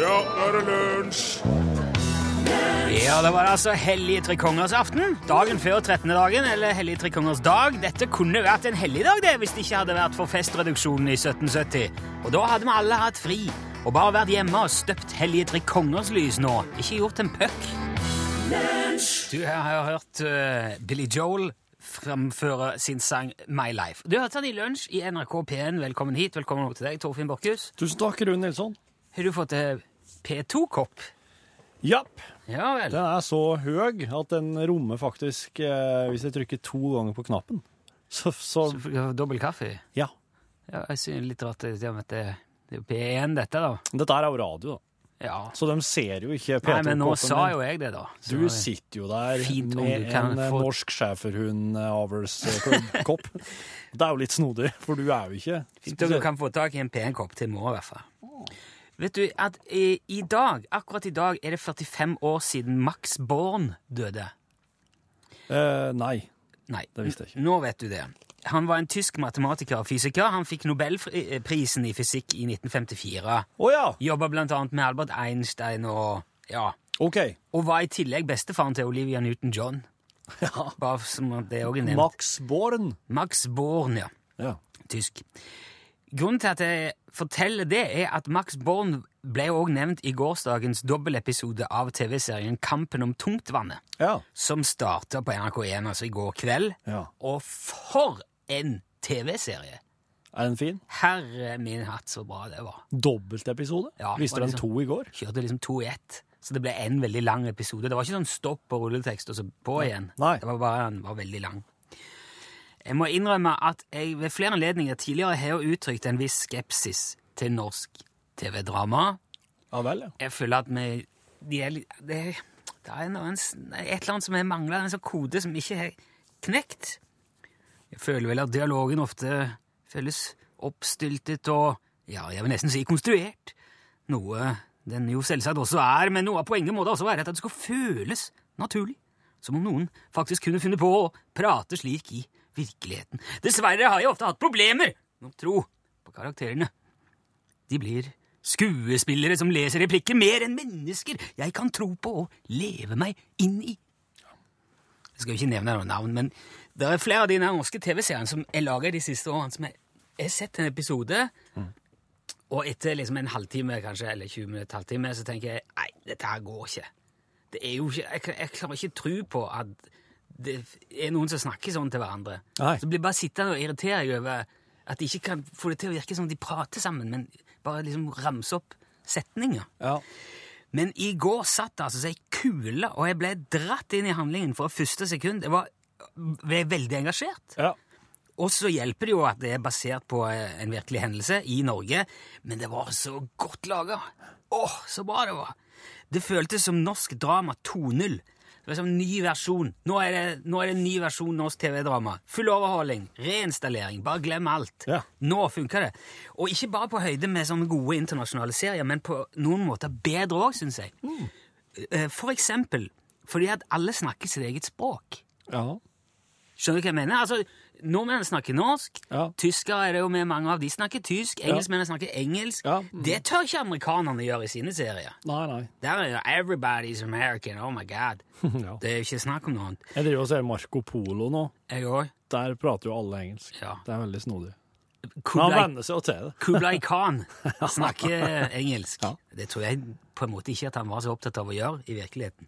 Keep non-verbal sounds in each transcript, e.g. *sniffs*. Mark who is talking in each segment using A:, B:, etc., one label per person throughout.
A: Ja, nå er det lunsj!
B: Ja, det var altså Hellig trekongers aften. Dagen før 13. dagen, eller Hellig trekongers dag. Dette kunne vært en helligdag, det, hvis det ikke hadde vært for festreduksjonen i 1770. Og da hadde vi alle hatt fri, og bare vært hjemme og støpt Hellige trekongers lys nå. Ikke gjort en puck. Du her har hørt eh, Billy Joel fremføre sin sang My Life. Du hørte han i lunsj i NRK P1. Velkommen hit. Velkommen opp til deg, Torfinn Borkhus.
C: Tusen takk, Rune Nilsson.
B: Har du fått eh, P2-kopp?
C: Japp.
B: Ja vel.
C: Den er så høy at den rommer faktisk eh, Hvis jeg trykker to ganger på knappen, så, så
B: Så får jeg Dobbel kaffe?
C: Ja.
B: Ja, jeg synes litt rart at det, det det er jo P1 dette, da.
C: Dette her er jo radio, da.
B: Ja.
C: Så de ser jo ikke
B: Nei, men nå
C: P2-koppen.
B: sa jo jeg det, da. Så-
C: Du sitter jo der
B: Fint om
C: med
B: du kan
C: en eh,
B: få-
C: norsk eh,
B: *laughs*
C: schæferhund-avlskopp. det er jo litt snodig, for du er jo ikke
B: Fint om du kan få tak i en P1-kopp til i morgen, i hvert fall. Vet du at i, i dag, akkurat i dag, er det 45 år siden Max Born døde.
C: Eh, Nei.
B: Nei,
C: Det visste jeg ikke.
B: n- nå vet du det. Han var en tysk matematiker og fysiker. Han fikk Nobelprisen i fysikk i 1954.
C: Å ja!
B: Jobba blant annet med Albert Einstein og ja,
C: OK.
B: og var i tillegg bestefaren til Olivia Newton-John. Bare som at det òg er
C: *laughs*
B: nevnt.
C: Max Born.
B: Max Born, ja.
C: Ja.
B: Tysk. Grunnen til at jeg forteller det, er at Max Born ble òg nevnt i gårsdagens dobbeltepisode av TV-serien Kampen om tungtvannet,
C: ja.
B: som starta på NRK1 altså i går kveld.
C: Ja.
B: Og for en TV-serie!
C: Er den fin?
B: Herre min hatt, så bra det var.
C: Dobbeltepisode?
B: Ja,
C: Viste
B: var
C: den
B: liksom-
C: to i går?
B: Kjørte liksom to i ett. Så det ble en veldig lang episode. Det var ikke sånn stopp og rulletekst og så på igjen.
C: Nei.
B: Det var bare den var veldig lang. Jeg må innrømme at jeg ved flere anledninger tidligere har uttrykt en viss skepsis til norsk TV-drama.
C: Ja vel, ja.
B: Jeg føler at vi de er, litt- det, er- det er noen, s- et eller annet som jeg mangler, en sånn kode som ikke er knekt. Jeg føler vel at dialogen ofte føles oppstyltet og ja, jeg vil nesten si konstruert. Noe den jo selvsagt også er, men noe av poenget må da også være at det skal føles naturlig. Som om noen faktisk kunne funnet på å prate slik i virkeligheten. Dessverre har jeg ofte hatt problemer med å tro på karakterene. De blir skuespillere som leser replikker mer enn mennesker jeg kan tro på og leve meg inn i. Jeg skal jo ikke nevne noen navn, men det er flere av de der norske TV-seriene som er laget de siste årene, som jeg jeg har sett en episode, og etter liksom en halvtime kanskje, eller 20 minutter, halvtime, så tenker jeg, nei, dette her går ikke. Det er jo ikke, jeg, kan- jeg klarer ikke tro på at det er noen som snakker sånn til hverandre.
C: Nei.
B: Så blir jeg bare sittende og irritere meg over at de ikke kan få det til å virke som de prater sammen, men bare liksom ramse opp setninger.
C: ja.
B: Men i går satt det altså ei kule, og jeg ble dratt inn i handlingen fra første sekund. Jeg var ble veldig engasjert.
C: Ja.
B: Og så hjelper det jo at det er basert på eh, en virkelig hendelse i Norge, men det var så godt laga. Åh, så bra det var! Det føltes som norsk drama 2.0. Det var som en ny versjon. Nå er det, nå er det en ny versjon norsk TV-drama. Full overhaling, reinstallering, bare glem alt.
C: Ja.
B: Nå funker det. Og ikke bare på høyde med sånne gode internasjonale serier, men på noen måter bedre òg, syns jeg. Eh, For eksempel fordi at alle snakker sitt eget språk.
C: ja.
B: Skjønner du hva jeg mener? Altså, Nordmenn snakker norsk,
C: Ja.
B: tyskere er det jo med mange av, de snakker tysk, engelskmennene snakker engelsk.
C: Ja, mhm.
B: Det tør ikke amerikanerne gjøre i sine serier.
C: Nei, nei.
B: Der er jo 'everybody's American', oh my god.
C: *laughs* Ja.
B: Det er jo ikke snakk om noe annet.
C: Jeg driver og ser Marco Polo nå.
B: Jeg òg.
C: Der prater jo alle engelsk.
B: Ja.
C: Det er veldig snodig. Men han *laughs*
B: Kublai,
C: venner seg jo til det.
B: Kublai Khan snakker engelsk.
C: Ja.
B: Det tror jeg på en måte ikke at han var så opptatt av å gjøre i virkeligheten.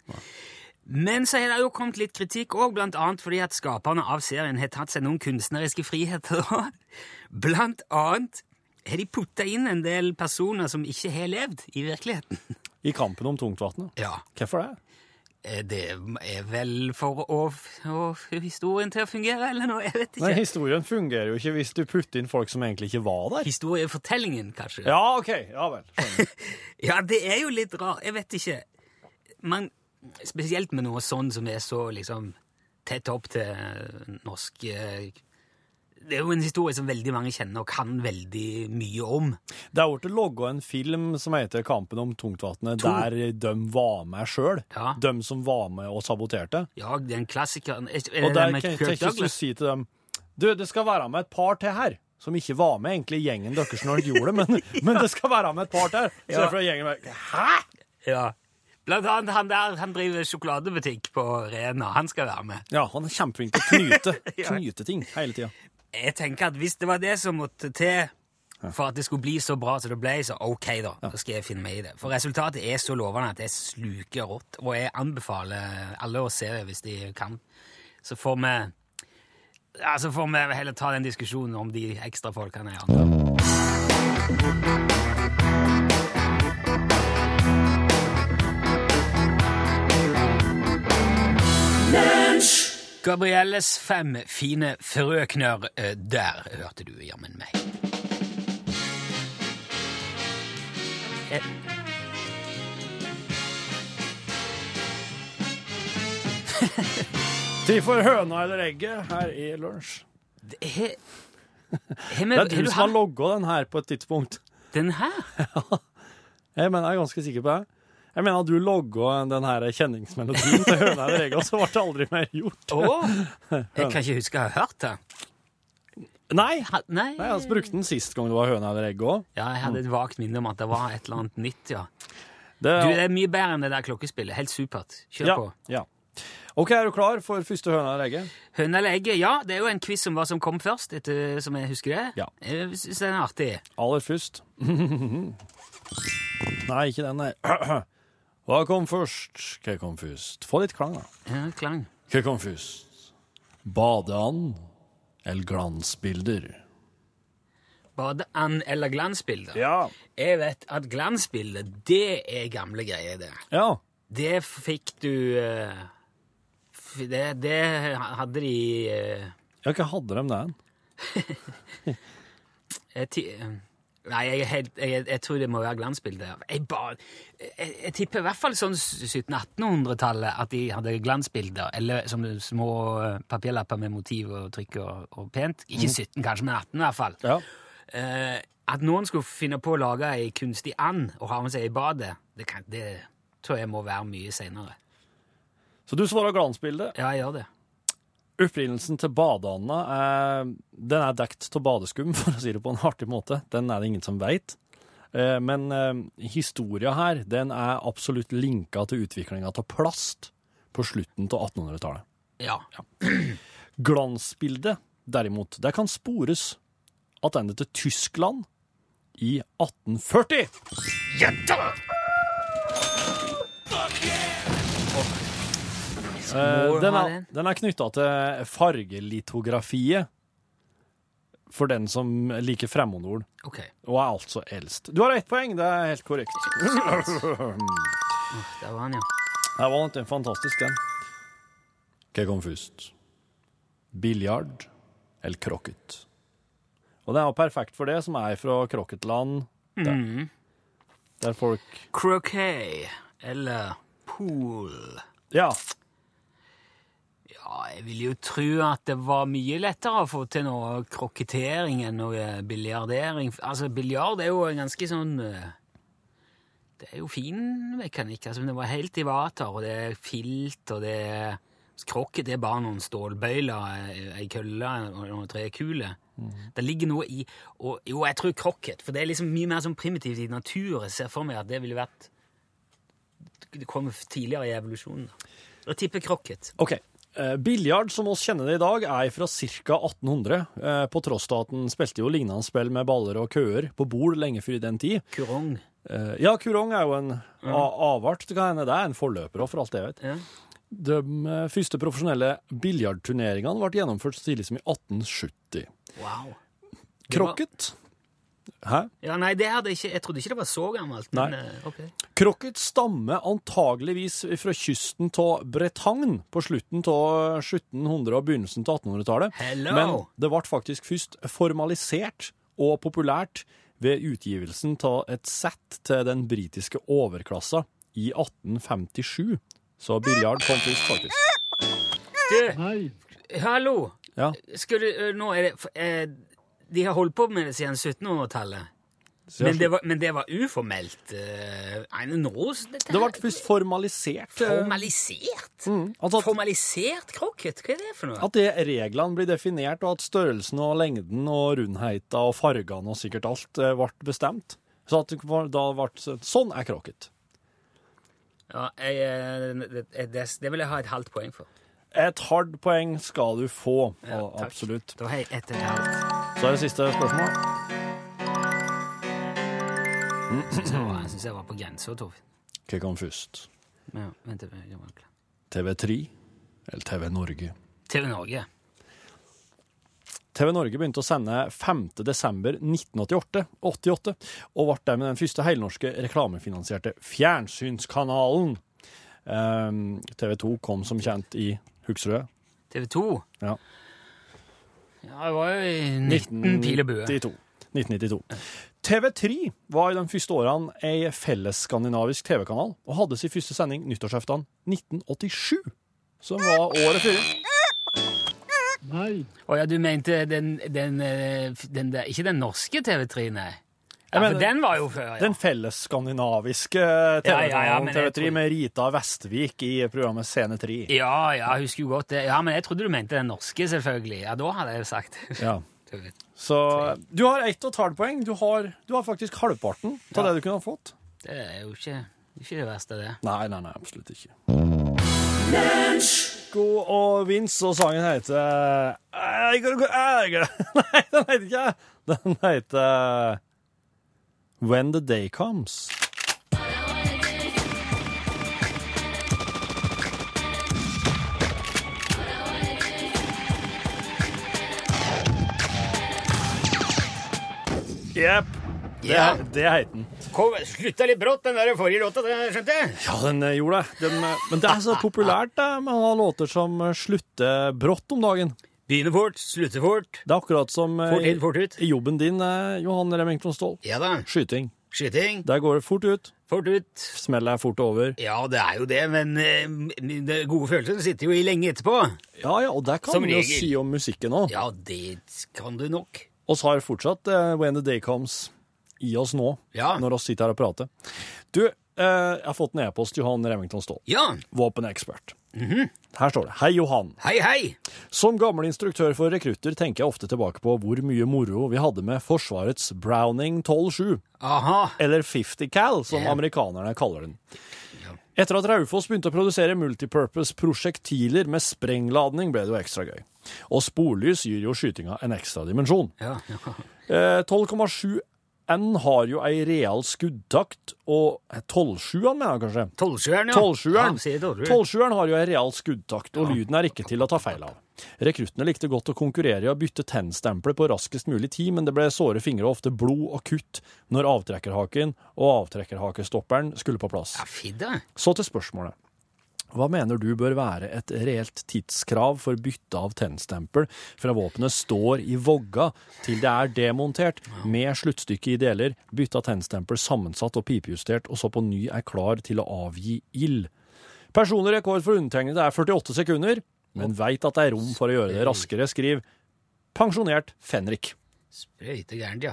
B: Men så har det jo kommet litt kritikk òg, blant annet fordi at skaperne av serien har tatt seg noen kunstneriske friheter. Blant annet har de putta inn en del personer som ikke har levd i virkeligheten.
C: I kampen om tungtvannet.
B: Ja,
C: Hvorfor det?
B: eh, Det er vel for å få historien til å fungere, eller noe? Jeg vet
C: Nei,
B: ikke.
C: historien fungerer jo ikke hvis du putter inn folk som egentlig ikke var der.
B: Historiefortellingen, kanskje?
C: Ja, OK. Ja vel. Skjønner.
B: Ja, det er jo litt rart. Jeg vet ikke. Men spesielt med noe sånn som er så liksom tett opp til eh, norsk eh, Det er jo en historie som veldig mange kjenner og kan veldig mye om.
C: Det er blitt logga en film som heter Kampen om tungtvannet,
B: To.
C: der de var med sjøl.
B: Ja.
C: De som var med og saboterte.
B: Ja, det er en klassiker. Er er
C: Og
B: det
C: der
B: med
C: kan
B: Kirk
C: kan ikke du
B: Douglas?
C: si til dem Du, det skal være med et par til her. som ikke var med egentlig i gjengen deres når dere gjorde det, men, *laughs* men det skal være med et par til. Så
B: Ja.
C: derfor er gjengen bare Hæ?!
B: Ja. Blant annet han der, han driver sjokoladebutikk på Rena. Han skal være med.
C: Ja, han er kjempeflink til å knyte,
B: *laughs* Ja.
C: knyte ting hele tida.
B: Jeg tenker at hvis det var det som måtte til for at det skulle bli så bra som det ble, så ok, da. Da skal jeg finne meg i det. For resultatet er så lovende at det sluker rått, og jeg anbefaler alle å se det hvis de kan. Så får vi ja, så får vi heller ta den diskusjonen om de ekstra folkene jeg antar. Gabrielles fem fine frøkner, eh, der hørte du jammen meg. Eh.
C: Tid for høna eller egget her i lunsj.
B: Det er- Har vi-
C: Det
B: har
C: er du
B: du
C: som har
B: hatt
C: logga den her på et tidspunkt.
B: den her?
C: Jeg mener, jeg er ganske sikker på det. Jeg mener at du logga den her kjenningsmelodien til høna eller egget, og så ble det aldri mer gjort.
B: Åh, jeg kan ikke huske å ha hørt det.
C: Nei!
B: Ha- Nei,
C: Nei, altså brukte den sist gang det var høna eller egget òg.
B: Ja, jeg hadde et vagt minne om at det var et eller annet nytt, ja.
C: Det,
B: Du, det er mye bedre enn det der klokkespillet. Helt supert. Kjør
C: ja,
B: på.
C: ja. OK, er du klar for første høna eller egget?
B: Høne eller egg? Ja, det er jo en quiz om hva som kom først, etter som jeg husker det.
C: Ja.
B: Jeg synes den er artig.
C: Aller først *laughs* Nei, *clears throat* ikke den, nei. Hva kom først? Hva kom først? Få litt klang, da.
B: Ja, klang.
C: Hva kom først? Badeand eller glansbilder?
B: Badeand eller glansbilder?
C: Ja.
B: Jeg vet at glansbilder, det er gamle greier, det.
C: Ja.
B: Det fikk du eh, f- det, det hadde de eh,
C: Ja, hva hadde de den?
B: jeg ti- eh, Nei, jeg, er helt, jeg, jeg tror det må være glansbilder. Jeg, bare, jeg, jeg tipper i hvert fall sånn 1700-1800-tallet at de hadde glansbilder, eller som små eh, papirlapper med motiv og trykk og, og pent. Ikke 17, kanskje, men 18 i hvert fall.
C: Ja.
B: Eh, at noen skulle finne på å lage ei kunstig and og ha med seg i badet, det, kan, det tror jeg må være mye seinere.
C: Så du svarer glansbildet.
B: Ja, jeg gjør det.
C: Opprinnelsen til badeanda er, den er dekt av badeskum, *laughs* for å si det på en artig måte. Den er det ingen som veit. Eh, Men eh, historia her, den er absolutt linka til utviklinga av plast på slutten av 1800-tallet.
B: Ja.
C: Glansbildet, derimot, det kan spores attende til Tyskland i 1840. Eh,
B: Hvor
C: Eh, den
B: har
C: er,
B: den?
C: den er knytta til fargelitografiet, for den som liker fremmedord,
B: Ok.
C: og er altså eldst. Du har ett poeng, det er helt korrekt.
B: Der var han, ja.
C: Det var en fantastisk den. Hva kom først? Biljard eller krokket? Og den er jo perfekt for det, som er fra krokketland. Der.
B: Mm.
C: Der folk
B: Croquet eller pool.
C: Ja.
B: Ja, jeg vil jo tro at det var mye lettere å få til noe krokettering enn noe biljardering. Altså, biljard er jo en ganske sånn eh, Det er jo fin mekanikk. altså, men Det var helt i vater, og det er filt, og det er altså, Krokket er bare noen stålbøyler, eh, ei kølle og noen trekuler. Det ligger noe i og, Jo, jeg tror krokket, for det er liksom mye mer sånn primitivt i naturen. Jeg ser for meg at det ville vært Det kommer tidligere i evolusjonen. da. Jeg tipper krokket.
C: OK. Eh, Biljard, som oss kjenner det i dag, er fra ca. 1800, eh, på tross av at den spilte jo lignende spill med baller og køer på bord lenge før i den tid.
B: Kurong.
C: Eh, ja, kurong er jo en a- avart, det kan hende. Det er en forløper også, for alt jeg vet.
B: Ja.
C: De eh, første profesjonelle biljardturneringene ble gjennomført så tidlig som i 1870.
B: Wow. Det var-
C: Krokket Hæ?
B: Ja, nei, det hadde jeg ikke, jeg trodde ikke det var så gammelt. Men,
C: Nei.
B: eh, ok.
C: Krokket stammer antageligvis fra kysten av Bretagne på slutten av 1700- og begynnelsen av 1800-tallet.
B: Hello!
C: Men det ble faktisk først formalisert og populært ved utgivelsen av et sett til den britiske overklassa i 1857. Så biljard kom først, faktisk.
B: Du, hallo!
C: Ja,
B: eh, Skal du, ø, nå er det, f- eh, de har holdt på med det siden 1700-tallet. Men det var, men det var uformelt. eh, Nei, nå
C: Det
B: dette her-
C: ble først formalisert. eh,
B: Formalisert?
C: altså at-
B: Formalisert krokket? Hva er det for noe?
C: At det reglene blir definert, og at størrelsen og lengden og rundheita og fargene og sikkert alt eh, ble bestemt. Så at det var- da ble det- sånn er krokket.
B: Ja, jeg, eh, det, det, det vil jeg ha et halvt poeng for.
C: Et hardt poeng skal du få. og-
B: takk.
C: absolutt.
B: Da har jeg ett og et halvt.
C: Så er det siste spørsmål.
B: Så jeg syns jeg var på grensa, Torfinn.
C: Hva kom først?
B: Ja, vent, jeg må klare.
C: TV3 eller TV Norge?
B: TV Norge.
C: TV Norge begynte å sende 5. desember 1988, 88, og ble dermed den første helnorske reklamefinansierte fjernsynskanalen. Ehm, TV 2 kom som kjent i Hugsrød
B: TV 2.
C: Ja.
B: Ja, det var jo i 19 pil og bue.
C: 1992. 1992. TV3 var i de første årene ei fellesskandinavisk TV-kanal, og hadde sin første sending nyttårsaften 1987, som var året før.
B: Å ja, du mente den, den, eh, den der Ikke den norske TV3, nei.
C: Jeg
B: Ja, for
C: mener-
B: den var jo før, ja.
C: Den fellesskandinaviske eh,
B: Ja, ja, ja,
C: TV-kanalen
B: men
C: TV3
B: jeg tror-
C: med Rita Vestvik i programmet Scene 3.
B: Ja, ja, jeg husker jo godt det. Ja, men jeg trodde du mente den norske, selvfølgelig. Ja, da hadde jeg jo sagt *laughs*
C: Ja. Så du har ett og et halvt poeng. Du har, du har faktisk halvparten av det du kunne ha fått.
B: Det er jo ikke, ikke det verste, det.
C: Nei, nei, nei, absolutt ikke. Go og Vince, og sangen heter eh, Eiger og Eiger. *laughs* Nei, den heter ikke Den heter eh, When the Day Comes. Jepp. Det,
B: Ja.
C: det heter den.
B: Kom, slutta litt brått, den der forrige låta, det skjønte jeg.
C: Ja, den eh, gjorde det. Den, eh, men det er så populært det, med å ha låter som eh, slutter brått om dagen.
B: Begynner fort, slutter fort.
C: Det er akkurat som eh,
B: Fort inn, fort ut.
C: i jobben din, eh, Johan Remington Ståhl.
B: Ja da.
C: Skyting.
B: Skyting,
C: Der går det fort ut,
B: fort ut.
C: smellet er fort over.
B: Ja, det er jo det, men eh, de gode følelsene sitter jo i lenge etterpå.
C: Ja, ja, og det kan
B: Som
C: man jo
B: regel.
C: si om musikken òg.
B: Ja, det kan du nok.
C: Vi har fortsatt eh, When the Day Comes i oss nå,
B: Ja.
C: når vi sitter her og prater. Du, eh, jeg har fått en e-post, Johan Remington Ståhl,
B: Ja,
C: våpenekspert.
B: Mhm.
C: Her står det 'Hei, Johan'.
B: hei, hei.
C: Som gammel instruktør for rekrutter tenker jeg ofte tilbake på hvor mye moro vi hadde med Forsvarets Browning 12-7,
B: Aha.
C: eller 50 Cal, som
B: Ja.
C: amerikanerne kaller den.
B: Ja.
C: Etter at Raufoss begynte å produsere multipurpose prosjektiler med sprengladning, ble det jo ekstra gøy. Og sporlys gir jo skytinga en ekstra dimensjon.
B: Ja, ja.
C: Eh, 12,7N har jo ei real skuddtakt, og 12,7-an mener jeg kanskje?
B: Tolvsjueren, ja. Ja, sier tolvsjueren.
C: 12-sjueren har jo en real skuddtakt, og lyden er ikke til å ta feil av. Rekruttene likte godt å konkurrere i å bytte tennstempelet på raskest mulig tid, men det ble såre fingre og ofte blod og kutt når avtrekkerhaken og avtrekkerhakestopperen skulle på plass.
B: Ja, fidda.
C: Så til spørsmålet. Hva mener du bør være et reelt tidskrav for bytte av tennstempel fra våpenet står i vogga til det er demontert, med sluttstykket i deler, bytte av tennstempel sammensatt og pipejustert, og så på ny er klar til å avgi ild? Personlig rekord for undertegnede er 48 sekunder, men veit at det er rom for å gjøre det raskere, skriv pensjonert Fenrik.
B: Sprøyte gærent, ja.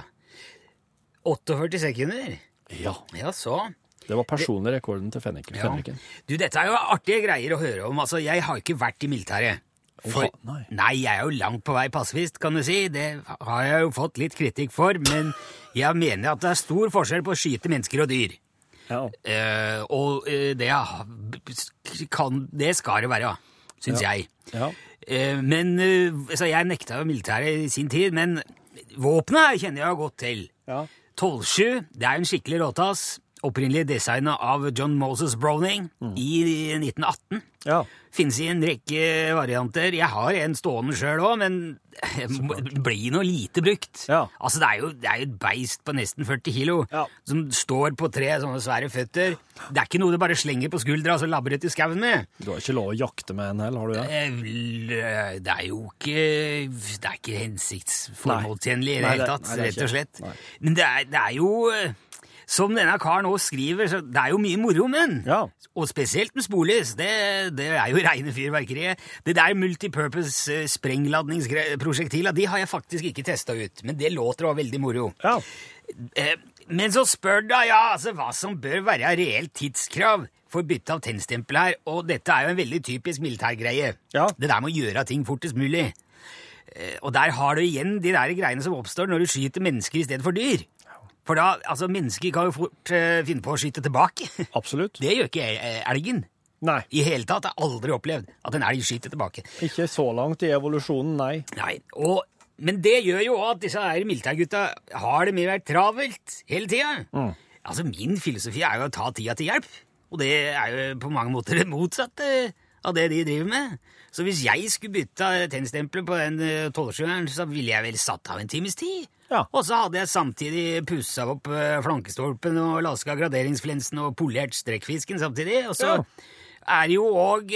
B: 48 sekunder.
C: Ja,
B: Ja, så.
C: det var personlig rekorden til Fenrik.
B: Ja.
C: Fenriken.
B: Du, dette er jo artige greier å høre om. Altså, jeg har ikke vært i militæret. For-
C: Å, nei.
B: jeg er jo langt på vei passivist, kan du si. Det har jeg jo fått litt kritikk for, men jeg mener at det er stor forskjell på å skyte mennesker og dyr.
C: Ja.
B: Eh, og eh, det, har- kan, det skal det være, syns jeg.
C: Ja.
B: Eh, men, eh, så jeg nekta jo militæret i sin tid, men våpenet kjenner jeg jo godt til.
C: Ja.
B: 12-7, det er jo en skikkelig råtass. Opprinnelig designet av John Moses Browning
C: Mm.
B: i 1918.
C: ja.
B: Finnes i en rekke varianter. Jeg har en stående sjøl òg, men det blir nå lite brukt.
C: Ja.
B: Altså, det er, jo, det er jo et beist på nesten 40 kilo
C: Ja.
B: som står på tre sånne svære føtter. Det er ikke noe du bare slenger på skuldra og så labber ut i skauen med.
C: Du har ikke lov å jakte med en heller, har du det?
B: Eh, vel, eh, Det er jo ikke Det er ikke hensiktsformålstjenlig i det
C: Nei,
B: hele
C: det-
B: tatt,
C: nei, det er
B: rett og
C: ikke-
B: slett. Men det er, det er jo eh, Som denne karen nå skriver, så det er jo mye moro med den.
C: Ja.
B: Og spesielt med sporlys. Det, det er jo *laughs* reine fyrverkeriet. Det der multipurpose eh, sprengladningsprosjektila, de har jeg faktisk ikke testa ut, men det låter også veldig moro.
C: Ja.
B: Eh, Men så spør da, ja, altså hva som bør være reelt tidskrav for bytte av tennstempel her, og dette er jo en veldig typisk militærgreie.
C: Ja.
B: Det der med å gjøre ting fortest mulig. Eh, Og der har du igjen de der greiene som oppstår når du skyter mennesker i stedet for dyr. For da, altså mennesker kan jo fort eh, finne på å skyte tilbake. *laughs*
C: Absolutt.
B: Det gjør ikke eh, elgen.
C: Nei.
B: I hele tatt har jeg aldri opplevd at en elg skyter tilbake.
C: Ikke så langt i evolusjonen, nei.
B: Nei, og, men det gjør jo også at disse her militærgutta har det med å være travelt hele tida. Altså, min filosofi er jo å ta tida til hjelp, og det er jo på mange måter det motsatte av det de driver med. Så hvis jeg skulle bytta tennstempelet på den eh, tolvsjøeren, så ville jeg vel satt av en times tid.
C: Ja.
B: Og så hadde jeg samtidig pussa opp eh, flankestolpen og laska graderingsflensen og polert strekkfisken samtidig, og så
C: Ja.
B: er det jo òg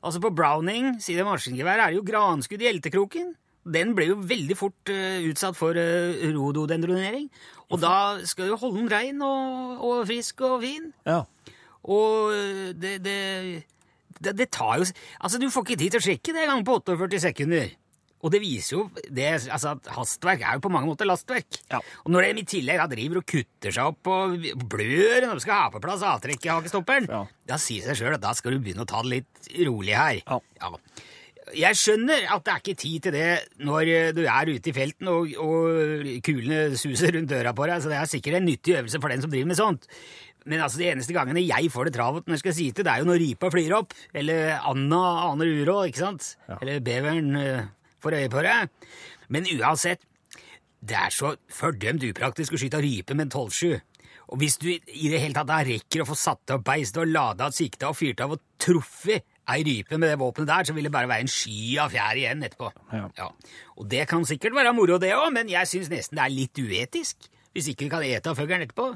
B: Altså, på Browning side av maskingevær er det jo granskudd i eltekroken. Den ble jo veldig fort eh, utsatt for uh, rododendronering. Og da skal du holde den rein og, og frisk og fin.
C: Ja.
B: Og eh, det, det, det, det tar jo s- Altså, du får ikke tid til å sjekke det engang på 48 sekunder. Og det viser jo det, altså at hastverk er jo på mange måter lastverk.
C: Ja.
B: Og når de i tillegg da driver og kutter seg opp og blør når de skal ha på plass avtrekket i hakestopperen,
C: Ja.
B: da sier seg sjøl at da skal du begynne å ta det litt rolig her.
C: Ja.
B: Jeg skjønner at det er ikke tid til det når eh, du er ute i felten og, og kulene suser rundt døra på deg, så det er sikkert en nyttig øvelse for den som driver med sånt. Men altså, de eneste gangene jeg får det travelt når jeg skal site, det er jo når ripa flyr opp, eller Anna aner uråd, ikke sant? Eller beveren eh, får øye på deg. Men uansett, det er så fordømt upraktisk å skyte rype med en 12-7. Og hvis du i det hele tatt da rekker å få satt opp beist og lada, sikta og fyrt av og truffet ei rype med det våpenet der, så vil det bare være en sky av fjær igjen etterpå.
C: Ja.
B: Og det kan sikkert være moro, det òg, men jeg syns nesten det er litt uetisk hvis ikke du kan ete av fuglen etterpå.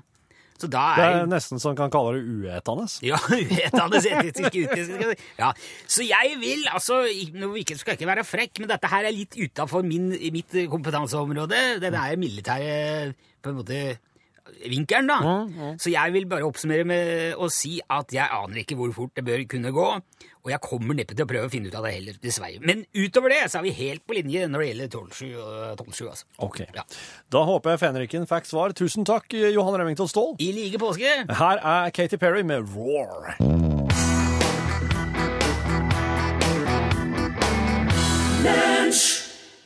B: Så da
C: Det
B: er
C: er nesten så en kan kalle det uetende.
B: ja, *laughs* uvetende etiske utgivelser. Ja. Så jeg vil, altså ik- nå ikke- skal jeg ikke være frekk, men dette her er litt utafor mitt eh, kompetanseområde. Det er militære på en måte vinkelen, da. Så jeg vil bare oppsummere med å si at jeg aner ikke hvor fort det bør kunne gå, og jeg kommer neppe til å prøve å finne ut av det heller, dessverre. Men utover det så er vi helt på linje når det gjelder 12-7 og 12-7, altså.
C: Ok.
B: Ja.
C: Da håper jeg fenriken fikk svar. Tusen takk, Johan Remington Ståhl.
B: I like påske!
C: Her er Katy Perry med Roar.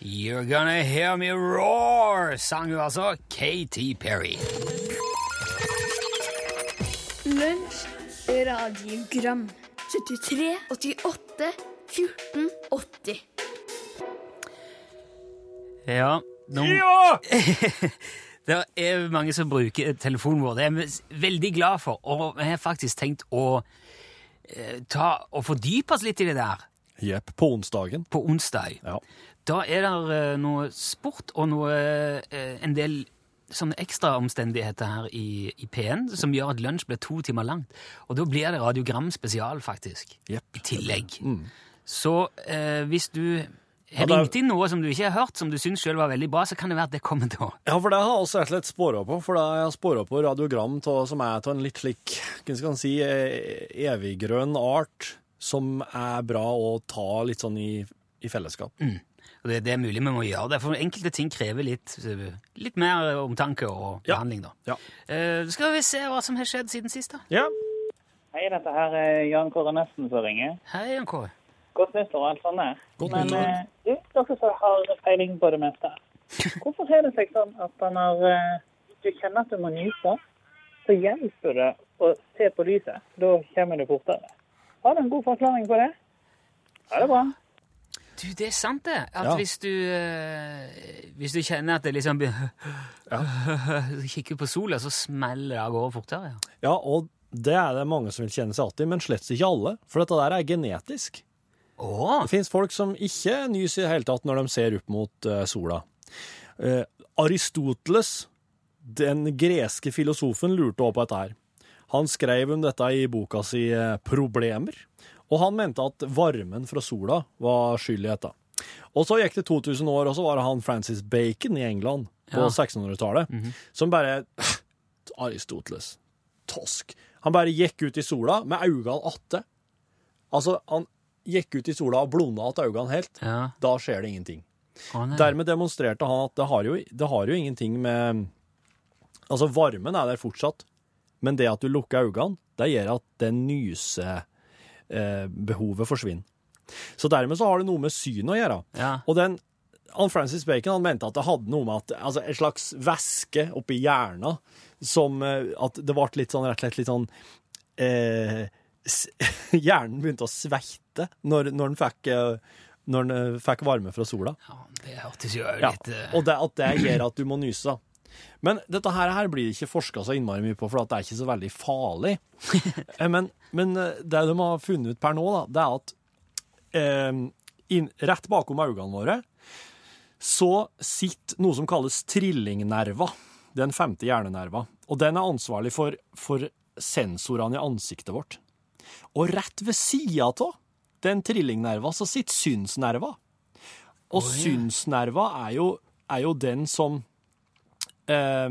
B: You're gonna hear me roar, sang hun altså, Katy Perry.
D: Lunsj, radiogram 73, 88, 14, 80
B: Ja, nå-
C: Ja!
B: det er mange som bruker telefonen vår. Det er jeg veldig glad for. Og jeg har faktisk tenkt å eh, ta og fordype oss litt i det der
C: Jepp, på onsdagen.
B: på onsdag.
C: Ja.
B: Da er det noe sport og noe, eh, en del sånne ekstra omstendigheter her i, i P1 som gjør at lunsj blir to timer langt. Og da blir det radiogram spesial, faktisk.
C: Jepp. Mm.
B: I tillegg. Så eh, hvis du har
C: Ja, da-
B: ringt inn noe som du ikke har hørt, som du syns sjøl var veldig bra, så kan det være at det kommer da.
C: Ja, for det har jeg også rett og slett spora på. For det har jeg spora på radiogram til, som er av en litt slik, hva skal en si, eh, eviggrønn art, som er bra å ta litt sånn i, i fellesskap.
B: Og det, det er mulig vi må gjøre det, for enkelte ting krever litt, eh, litt mer omtanke og
C: Ja.
B: behandling. da.
C: Ja.
B: Eh, skal vi se hva som har skjedd siden sist, da.
C: Ja.
E: Hei, dette her er Jan Kåre Nesten som ringer.
B: Hei, Jan Kåre.
E: Godt nyttår og alt sånt der.
C: Godt
E: Men
C: nyttår.
E: eh, du, dere som har peiling på det meste. Hvorfor er det seg sånn at han har eh, Du kjenner at du må nyse, så hjelper det å se på lyset. Da kommer du fortere. Har du en god forklaring på det? Ja, det er bra.
B: Du, det er sant, det. At
C: Ja.
B: hvis, du, eh, hvis du kjenner at det liksom begynner *laughs* Så Kikker du på sola, så smeller det av gårde fortere. ja.
C: ja, og det er det mange som vil kjenne seg igjen i, men slett ikke alle. For dette der er genetisk.
B: Å,
C: Det finnes folk som ikke nyser i det hele tatt når de ser opp mot eh, sola. Eh, Aristoteles, den greske filosofen, lurte også på dette her. Han skrev om dette i boka si eh, Problemer, og han mente at varmen fra sola var skyld i dette. Og så gikk det 2000 år, og så var det han Francis Bacon i England på
B: Ja.
C: 1600-tallet, som bare *sniffs* Aristoteles, tosk. Han bare gikk ut i sola med øynene atte. Altså, han gikk ut i sola og blunda att øynene helt.
B: ja.
C: Da skjer det ingenting.
B: Å, nei.
C: Dermed demonstrerte han at det har jo, det har jo ingenting med Altså, varmen er der fortsatt, men det at du lukker øynene, det gjør at det nysebehovet eh, behovet forsvinner. Så dermed så har det noe med synet å gjøre.
B: Ja.
C: Og den, han Francis Bacon han mente at det hadde noe med at altså, en slags væske oppi hjernen som eh, At det ble litt sånn rett og slett litt sånn eh, s- *laughs* Hjernen begynte å sveite når, når, den fikk, eh, når den eh, fikk varme fra sola.
B: Ja, det hørtes jo
C: Ja,
B: litt eh,
C: og det, at det gjør at du må nyse. da. Men dette her, her blir det ikke forska så innmari mye på, for at det er ikke så veldig farlig.
B: *laughs*
C: Eh, Men, men eh, det de har funnet ut per nå, da, det er at eh, inn, rett bakom øynene våre så sitter noe som kalles trillingnerva. Den femte hjernenerva. Og den er ansvarlig for, for sensorene i ansiktet vårt. Og rett ved sida av den trillingnerva så sitter synsnerva. Og synsnerva er jo, er jo den som eh,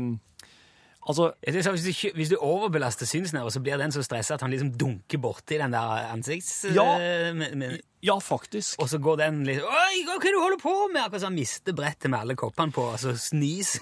C: Altså,
B: Jeg synes at hvis, du, ikke- hvis du overbelaster synsnerven, så blir den så stressa at han liksom dunker borti den der ansikts...
C: Ja.
B: eh, med- med-
C: ja, faktisk.
B: og så går den litt Oi, hva er det du holder på med? Akkurat som han mister brettet med alle koppene på, og så snis.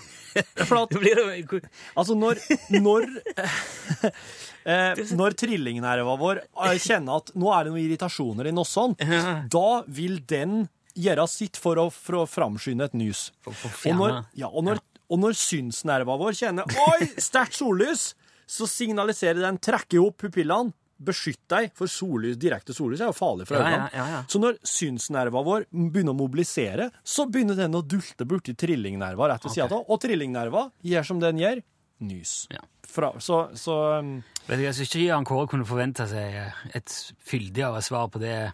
C: for at-
B: Da blir *laughs* det,
C: Altså, når Når, *laughs* eh, når trillingnerva vår eh, kjenner at nå er det noen irritasjoner i nossene, da vil den gjøre sitt for å, for å framskynde et nys.
B: For- for å
C: og når,
B: fjerne.
C: ja, og når, og når synsnerva vår kjenner Oi, sterkt sollys! Så signaliserer den trekker opp pupillene. Beskytt deg, for sollys, direkte sollys er jo farlig for
B: Ja,
C: øynene.
B: ja, ja, ja.
C: Så når synsnerva vår begynner å mobilisere, så begynner den å dulte borti trillingnerva rett ved siden av. Og trillingnerva gjør som den gjør, nys.
B: Ja.
C: Fra, så, så um,
B: Vet du, jeg synes ikke Jan Kåre kunne forvente seg eh, et fyldigere svar på det.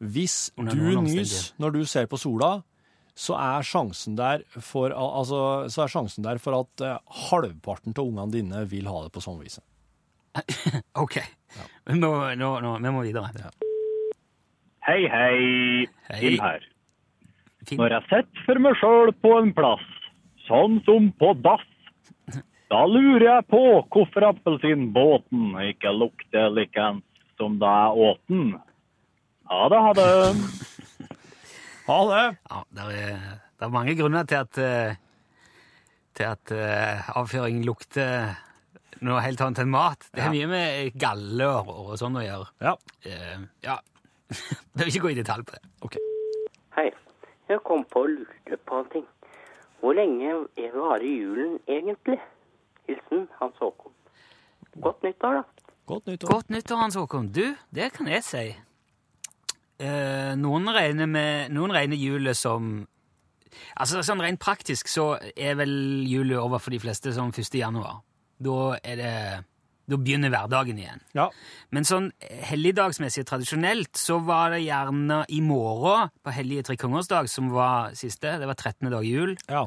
C: hvis
B: Under
C: du
B: noen
C: nys
B: omstendigheter.
C: når du ser på sola, så er sjansen der for, al- altså, så er sjansen der for at eh, halvparten av ungene dine vil ha det på sånn vis.
B: Ok, vi, må, nå, nå, vi må videre.
F: Hei, hei.
B: Hei.
F: Tim her.
B: Finn.
F: Når jeg sitter for meg sjøl på en plass, sånn som på dass, da lurer jeg på hvorfor appelsinbåten ikke lukter likeens som da jeg åt den. Ha det, ha det.
C: Ha det!
B: Ja, det er, der er mange grunner til at, eh, til at eh, avføring lukter noe helt annet enn mat. Det har mye med galler og sånn å gjøre.
C: Ja.
B: Eh, ja, *laughs* jeg vil ikke gå i detalj på det.
G: Hei. Jeg kom på å lure på en ting. Hvor lenge varer julen egentlig? Hilsen Hans Håkon. Godt nyttår, da.
C: Godt nytt år.
B: Godt nyttår, Hans Håkon. Du, det kan jeg si. Eh, noen, regner med, noen regner julet som Altså sånn Rent praktisk så er vel julet over for de fleste som 1. januar. Da, er det, da begynner hverdagen igjen.
C: Ja.
B: Men sånn helligdagsmessig tradisjonelt så var det gjerne i morgen, på hellige trekongers dag, som var siste, det var 13. dag jul,
C: Ja.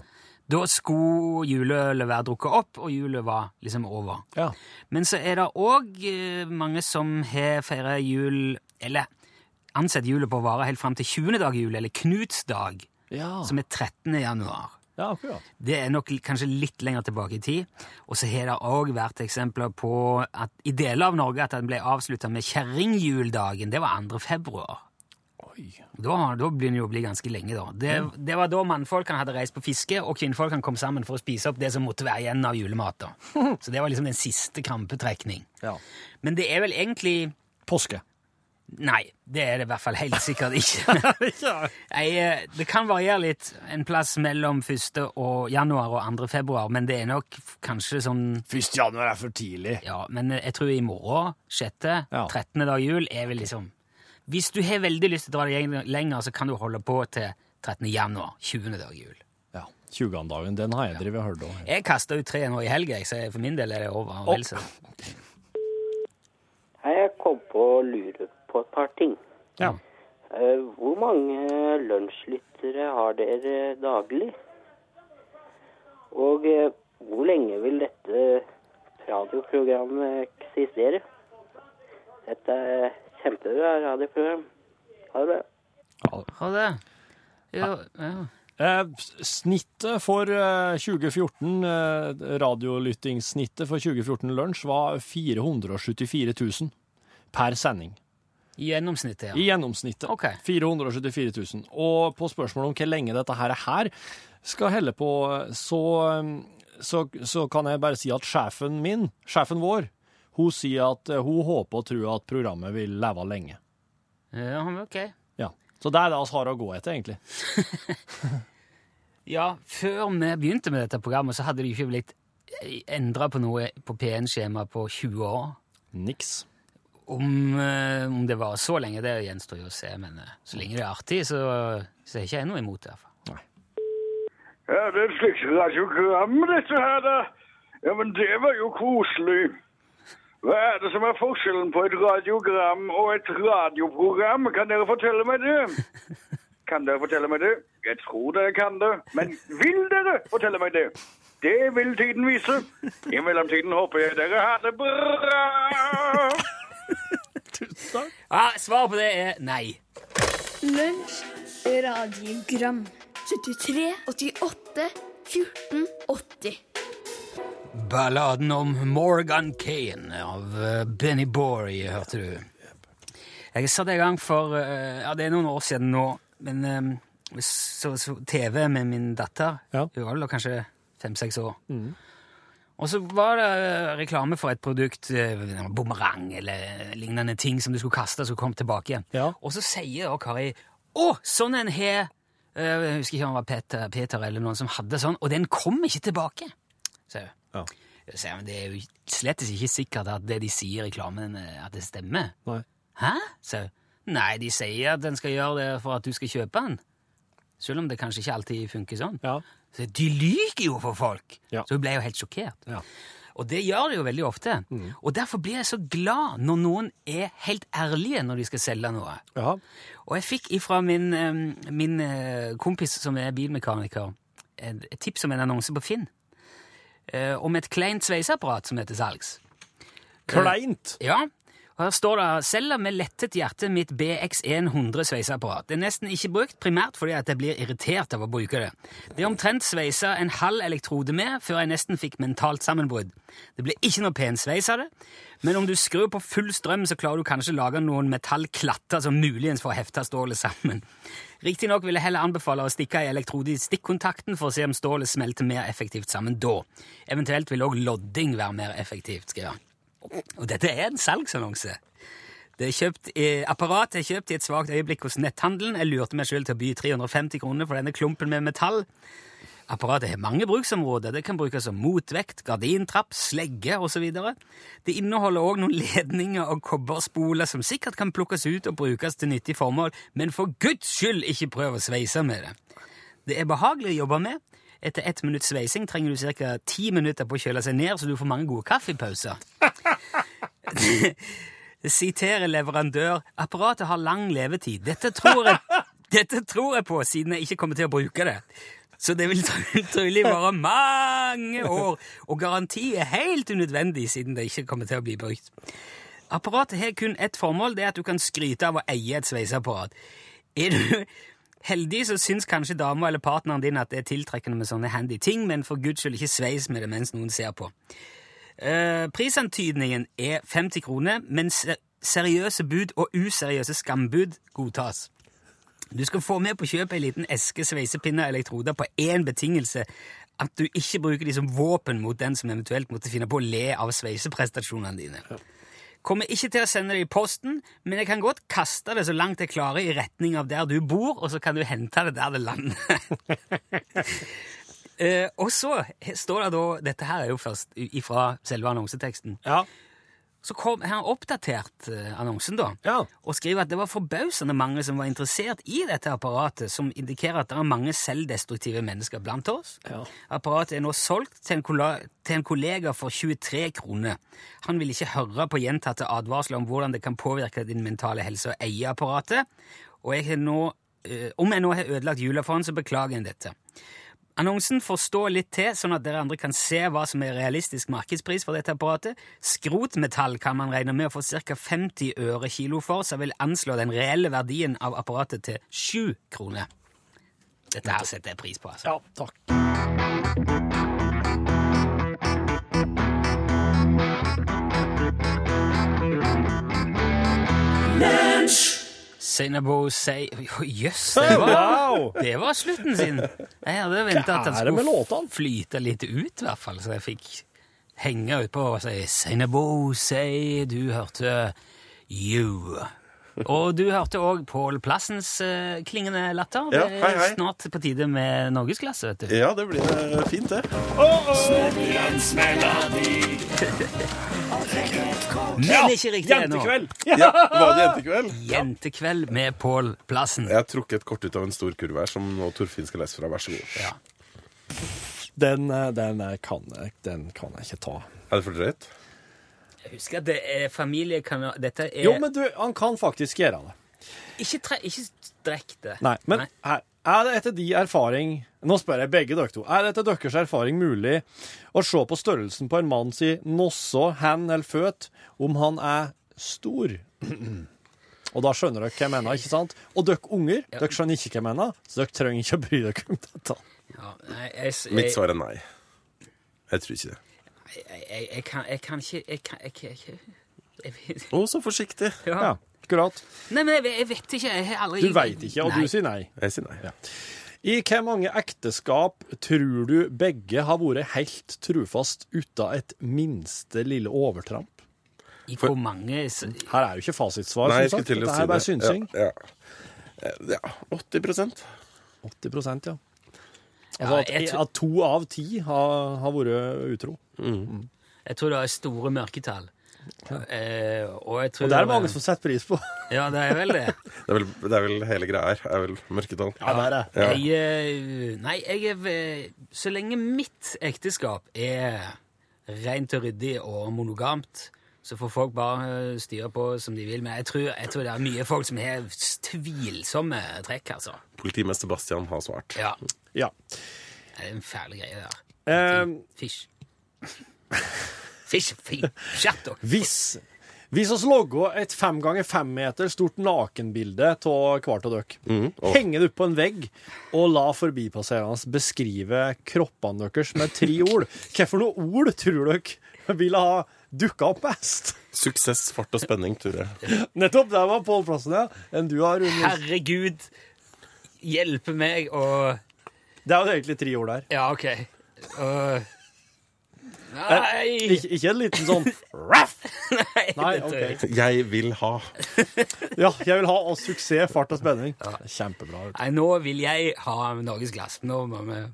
B: da skulle juleølet være drukket opp, og julet var liksom over.
C: ja.
B: Men så er det òg mange som har feira jul Eller ansett julet på å vare helt fram til 20. dag jul, eller Knuts dag,
C: Ja,
B: som er 13. januar.
C: ja akkurat.
B: Det er nok l- kanskje litt lenger tilbake i tid. Og så har det òg vært eksempler på at i deler av Norge at den ble avslutta med kjerringjuldagen. Det var 2. februar.
C: Oi.
B: Da, da begynner det jo å bli ganske lenge, da. Det, det var da mannfolkene hadde reist på fiske, og kvinnfolkene kom sammen for å spise opp det som måtte være igjen av julemat. da. Så det var liksom den siste krampetrekning.
C: Ja.
B: Men det er vel egentlig
C: Påske.
B: Nei, det er det i hvert fall helt sikkert ikke. *laughs* Jeg, eh, det kan variere litt en plass mellom 1. Og januar og 2. februar, men det er nok f- kanskje sånn
C: Første januar er for tidlig.
B: Ja, men jeg tror i morgen, 6.,
C: Ja.
B: 13. dag jul, er vel liksom Hvis du har veldig lyst til å dra det gjeng- lenger, så kan du holde på til 13. januar, 20. dag jul.
C: Ja. 20-dagen, den har jeg drevet og hørt om.
B: Jeg kasta ut tre nå i helga, jeg, så for min del er det over. og vel så.
G: Hei, jeg kom på å lure på et par ting.
C: Ja.
G: Eh, Hvor mange lunsjlyttere har dere daglig? Og eh, hvor lenge vil dette radioprogrammet eksistere? Dette er kjempebra radioprogram. Ha det bra.
B: Ha det. Ja, ja.
C: Eh, s- snittet for eh, 2014, eh, radiolyttingssnittet for 2014 lunsj, var 474 000 per sending.
B: Gjennomsnittet,
C: I
B: ja.
C: gjennomsnittet.
B: Ok.
C: 474 000. Og på spørsmålet om hvor lenge dette her, er her skal helle på, så eh, så, så kan jeg bare si at sjefen min, sjefen vår, hun sier at eh, hun håper og tror at programmet vil leve lenge.
B: Ja, men ok.
C: Ja. Så det er det vi har å gå etter, egentlig.
B: Ja, før vi begynte med dette programmet, så hadde det ikke blitt endra på noe på P1-skjemaet på 20 år.
C: Niks.
B: Om, eh, om det var så lenge, det gjenstår jo å se, men eh, så lenge det er artig, så, så er ikke jeg noe imot det. i hvert fall.
A: Ja, det er et slikt radiogram, dette her, da. Ja, men det var jo koselig. Hva er det som er forskjellen på et radiogram og et radioprogram? Kan dere fortelle meg det? Kan dere fortelle meg det? Jeg tror dere kan det. Men vil dere fortelle meg det? Det vil tiden vise. I mellomtiden håper jeg dere har det bra.
B: Ja, Svaret på det er nei.
D: Lunsj radiogram 73 88 14 80
B: Balladen om Morgan Kane av eh, Benny Borey, hørte du. Jeg satte i gang for eh, Ja, det er noen år siden nå, men eh, så, så TV med min datter.
C: Ja. Mm.
B: Hun var vel da kanskje fem-seks år. Og så var det eh, reklame for et produkt, eh, en bumerang eller eh, lignende ting som du skulle kaste, som kom tilbake igjen.
C: Ja.
B: Og så sier da Kari Å, sånn en har Eh, Jeg husker ikke om det var Peter, Peter eller noen som hadde sånn, og den kom ikke tilbake, sier hun.
C: Ja.
B: Jeg sier, men det er jo slett ikke sikkert at det de sier i reklamen, eh, at det stemmer.
C: Nei.
B: Hæ? Så, nei, de sier at den skal gjøre det for at du skal kjøpe den. Selv om det kanskje ikke alltid funker sånn.
C: Ja.
B: Så de lyger jo for folk!
C: Ja.
B: Så hun ble jo helt sjokkert.
C: Ja. Mm.
B: Og det gjør de jo veldig ofte. Og derfor blir jeg så glad når noen er helt ærlige når de skal selge noe.
C: Ja.
B: Og jeg fikk ifra min, eh, min eh, kompis som er bilmekaniker, et et tips om en annonse på Finn. eh, Om et kleint sveiseapparat som heter salgs.
C: Kleint!
B: Ja, og her står det «Selger med lettet hjerte mitt BX100 sveiseapparat. Det er nesten ikke brukt, primært fordi at jeg blir irritert av å bruke det. Det er omtrent sveisa en halv elektrode med før jeg nesten fikk mentalt sammenbrudd. Det blir ikke noe pen sveis av det, men om du skrur på full strøm, så klarer du kanskje lage noen metallklatter som muligens får hefta stålet sammen. Riktignok vil jeg heller anbefale å stikke ei elektrode i stikkontakten for å se om stålet smelter mer effektivt sammen da. Eventuelt vil òg lodding være mer effektivt, skriver han. Og dette er en salgsannonse. Det er kjøpt, eh, apparat er kjøpt i et svagt øyeblikk hos netthandelen. Jeg lurte meg selv til å by 350 kroner for denne klumpen med metall. Apparatet har mange bruksområder. Det kan brukes som motvekt, gardintrapp, slegge osv. Det inneholder òg noen ledninger og kobberspoler som sikkert kan plukkes ut og brukes til nyttig formål, men for guds skyld ikke prøv å sveise med det. Det er behagelig å jobbe med. Etter ett minutts sveising trenger du ca. ti minutter på å kjøle seg ned, så du får mange gode kaffepauser. Siterer leverandør. Apparatet har lang levetid. Dette tror jeg, dette tror jeg på, siden jeg ikke kommer til å bruke det. Så det vil tro- *laughs* trolig være mange år, og garanti er helt unødvendig siden det ikke kommer til å bli brukt. Apparatet har kun ett formål, det er at du kan skryte av å eie et sveiseapparat. Er du *laughs* heldig, så syns kanskje dama eller partneren din at det er tiltrekkende med sånne handy ting, men for guds skyld ikke sveis med det mens noen ser på. Eh, prisantydningen er 50 kroner, men se- seriøse bud og useriøse skambud godtas. Du skal få med på kjøpet ei liten eske sveisepinner og elektroder på én betingelse. At du ikke bruker de som våpen mot den som eventuelt måtte finne på å le av sveiseprestasjonene dine. Kommer ikke til å sende det i posten, men jeg kan godt kaste det så langt jeg klarer i retning av der du bor, og så kan du hente det der det lander. Eh, og så står det da Dette her er jo først i- ifra selve annonseteksten.
C: Ja.
B: Så kom, har han oppdatert eh, annonsen, da,
C: Ja.
B: og skriver at det var forbausende mange som var interessert i dette apparatet, som indikerer at det er mange selvdestruktive mennesker blant oss.
C: Ja.
B: Apparatet er nå solgt til en, kolla- til en kollega for 23 kroner. Han vil ikke høre på gjentatte advarsler om hvordan det kan påvirke din mentale helse å eie apparatet, og jeg har nå, eh, om jeg nå har ødelagt jula for han, så beklager jeg dette. Annonsen får stå litt til, sånn at dere andre kan se hva som er realistisk markedspris for dette apparatet. Skrotmetall kan man regne med å få ca. 50 øre kilo for, så jeg vil anslå den reelle verdien av apparatet til 7 kroner. Dette her setter jeg pris på, altså.
C: ja, takk.
B: Sinabo say Jøss,
C: *laughs*
B: yes, det, var-
C: Wow!
B: det var slutten sin! Jeg hadde venta at den
C: Hva er det med
B: skulle
C: låtene?
B: flyte litt ut, i hvert fall, så jeg fikk henge utpå og si Sinabo say Du hørte You. Og du hørte òg Pål Plassens eh, klingende latter.
H: Ja,
B: det
H: hei,
B: er
H: hei.
B: snart på tide med norgesklasse, vet du.
H: Ja, det blir eh, fint, det.
B: Men ikke riktig ennå.
C: Jentekveld!
H: Ja, Var det jentekveld?
B: Jentekveld med Pål Plassen.
H: Jeg har trukket et kort ut av en stor kurv her, som nå Torfinn skal lese fra. Vær så god.
B: Ja.
C: Den, eh, den, eh, kan jeg, den kan jeg ikke ta.
B: Eh.
H: Er det for drøyt?
B: Jeg husker at det er familiekanal Dette er
C: Jo, men du, han kan faktisk gjøre det.
B: ikke, tre, ikke strekk det.
C: Nei, men her, er det etter de erfaring Nå spør jeg begge dere to. Er det etter deres erfaring mulig å se på størrelsen på en mann si nosså, hen eller føt om han er stor? *clears throat* Og da skjønner dere hva jeg mener, ikke sant? Og dere unger, dere skjønner ikke hva jeg mener, så dere trenger ikke å bry dere om dette.
B: Ja, nei, jeg, s-
H: Mitt
B: jeg,
H: svar er nei. Jeg tror ikke det.
B: jeg, jeg, jeg, kan, jeg kan ikke Jeg kan jeg, kan- jeg, jeg, vet-
H: Å, så forsiktig.
C: Ja,
B: ja.
C: akkurat.
B: Nei, men jeg, vet- jeg vet ikke. Jeg har aldri
C: Du veit ikke, og
B: Nei.
C: du sier nei.
H: Jeg sier nei.
C: I hvor mange ekteskap tror du begge har vært helt trufast uten et minste lille overtramp?
B: I hvor mange s-
C: Her er jo ikke fasitsvar,
H: Nei, jeg
C: som
H: skulle
C: sagt.
H: til å
C: Dette
H: si
C: er bare synsing.
H: Ja, ja. Eh, ja 80
C: 80 ja.
B: ja,
C: Altså at,
B: jeg, tror-
C: at to av ti har, har vært utro.
B: jeg tror det er store mørketall. Eh, og jeg tror
C: Og det er det mange som setter pris på.
B: Ja, det er vel det.
H: Det er vel, det er vel hele greia her. er vel mørketall.
C: *laughs* Ja, det er det.
H: Ja.
B: Jeg, eh, nei, jeg er ve- Så lenge mitt ekteskap er rent og ryddig og monogamt, så får folk bare eh, styre på som de vil. Men jeg tror, jeg tror det er mye folk som har s- tvilsomme trekk, altså.
H: Politimester Bastian har svart.
B: Ja,
C: Ja.
B: det er en fæl greie der.
C: Eh,
B: Fish. Fish, fish.
C: *laughs*
B: Skjerp dere!
C: hvis hvis oss logger et fem ganger fem meter stort nakenbilde av hvert av dere,
H: og-
C: henge det opp på en vegg og la forbipasserende beskrive kroppene deres med
H: *laughs*
C: tre ord, hvilke ord tror dere ville ha dukka opp mest?
H: Suksess, fart og spenning, tror jeg.
C: Nettopp! Der var Pål Plassen, ja. Enn du har, Rune.
B: Herregud, hjelpe meg å
C: Det er jo egentlig tre ord der.
B: Ja, OK. Å, nei!
C: Ikke, ikke en liten sånn
B: *laughs*
C: raff! Nei,
B: dette-
C: ok.
H: Jeg vil ha.
C: Ja, jeg vil ha oss suksess, fart og spenning. Kjempebra. vet du.
B: Nei, nå vil jeg ha norgesglass. Nå, må vi-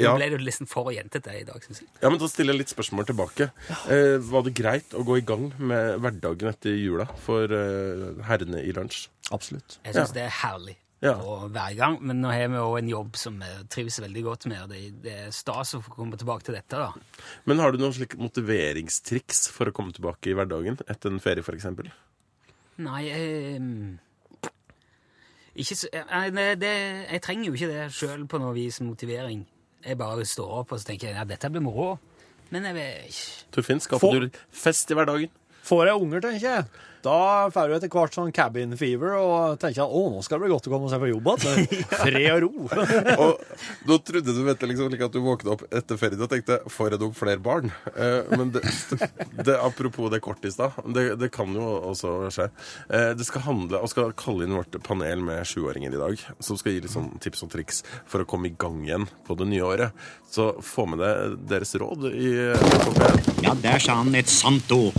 H: Ja.
B: nå ble det liksom for jentete i dag, syns jeg.
H: ja, men Da stiller jeg litt spørsmål tilbake. Eh, var det greit å gå i gang med hverdagen etter jula for eh, herrene i lunsj?
C: Absolutt.
B: Jeg syns det er herlig
H: Ja.
B: å være i gang. Men nå har vi òg en jobb som vi trives veldig godt med, og det, det er stas å få komme tilbake til dette, da.
H: Men har du noen slike motiveringstriks for å komme tilbake i hverdagen etter en ferie, f.eks.?
B: Nei, ehm, ikke så, nei det, det, jeg trenger jo ikke det sjøl på noe vis, motivering. Jeg bare står opp og så tenker jeg, ja, dette blir moro. Men jeg vet ikke
H: Torfinn,
C: Få-
H: skaper du fest i hverdagen?
C: Får jeg unger, tenker jeg, da får du etter hvert sånn cabin fever og tenker at å, nå skal det bli godt å komme seg på jobb igjen. Fred og ro.
H: *laughs* Og da trodde du vet, du, liksom, like at du våkna opp etter ferien og tenkte får jeg nok flere barn? Eh, men det, *laughs* det, apropos det kortet i stad, det, det kan jo også skje. Eh, det skal handle, og skal kalle inn vårt panel med sjuåringer i dag, som skal gi litt sånn tips og triks for å komme i gang igjen på det nye året. Så få med deg deres råd i
I: Ja, der sa han et sant ord.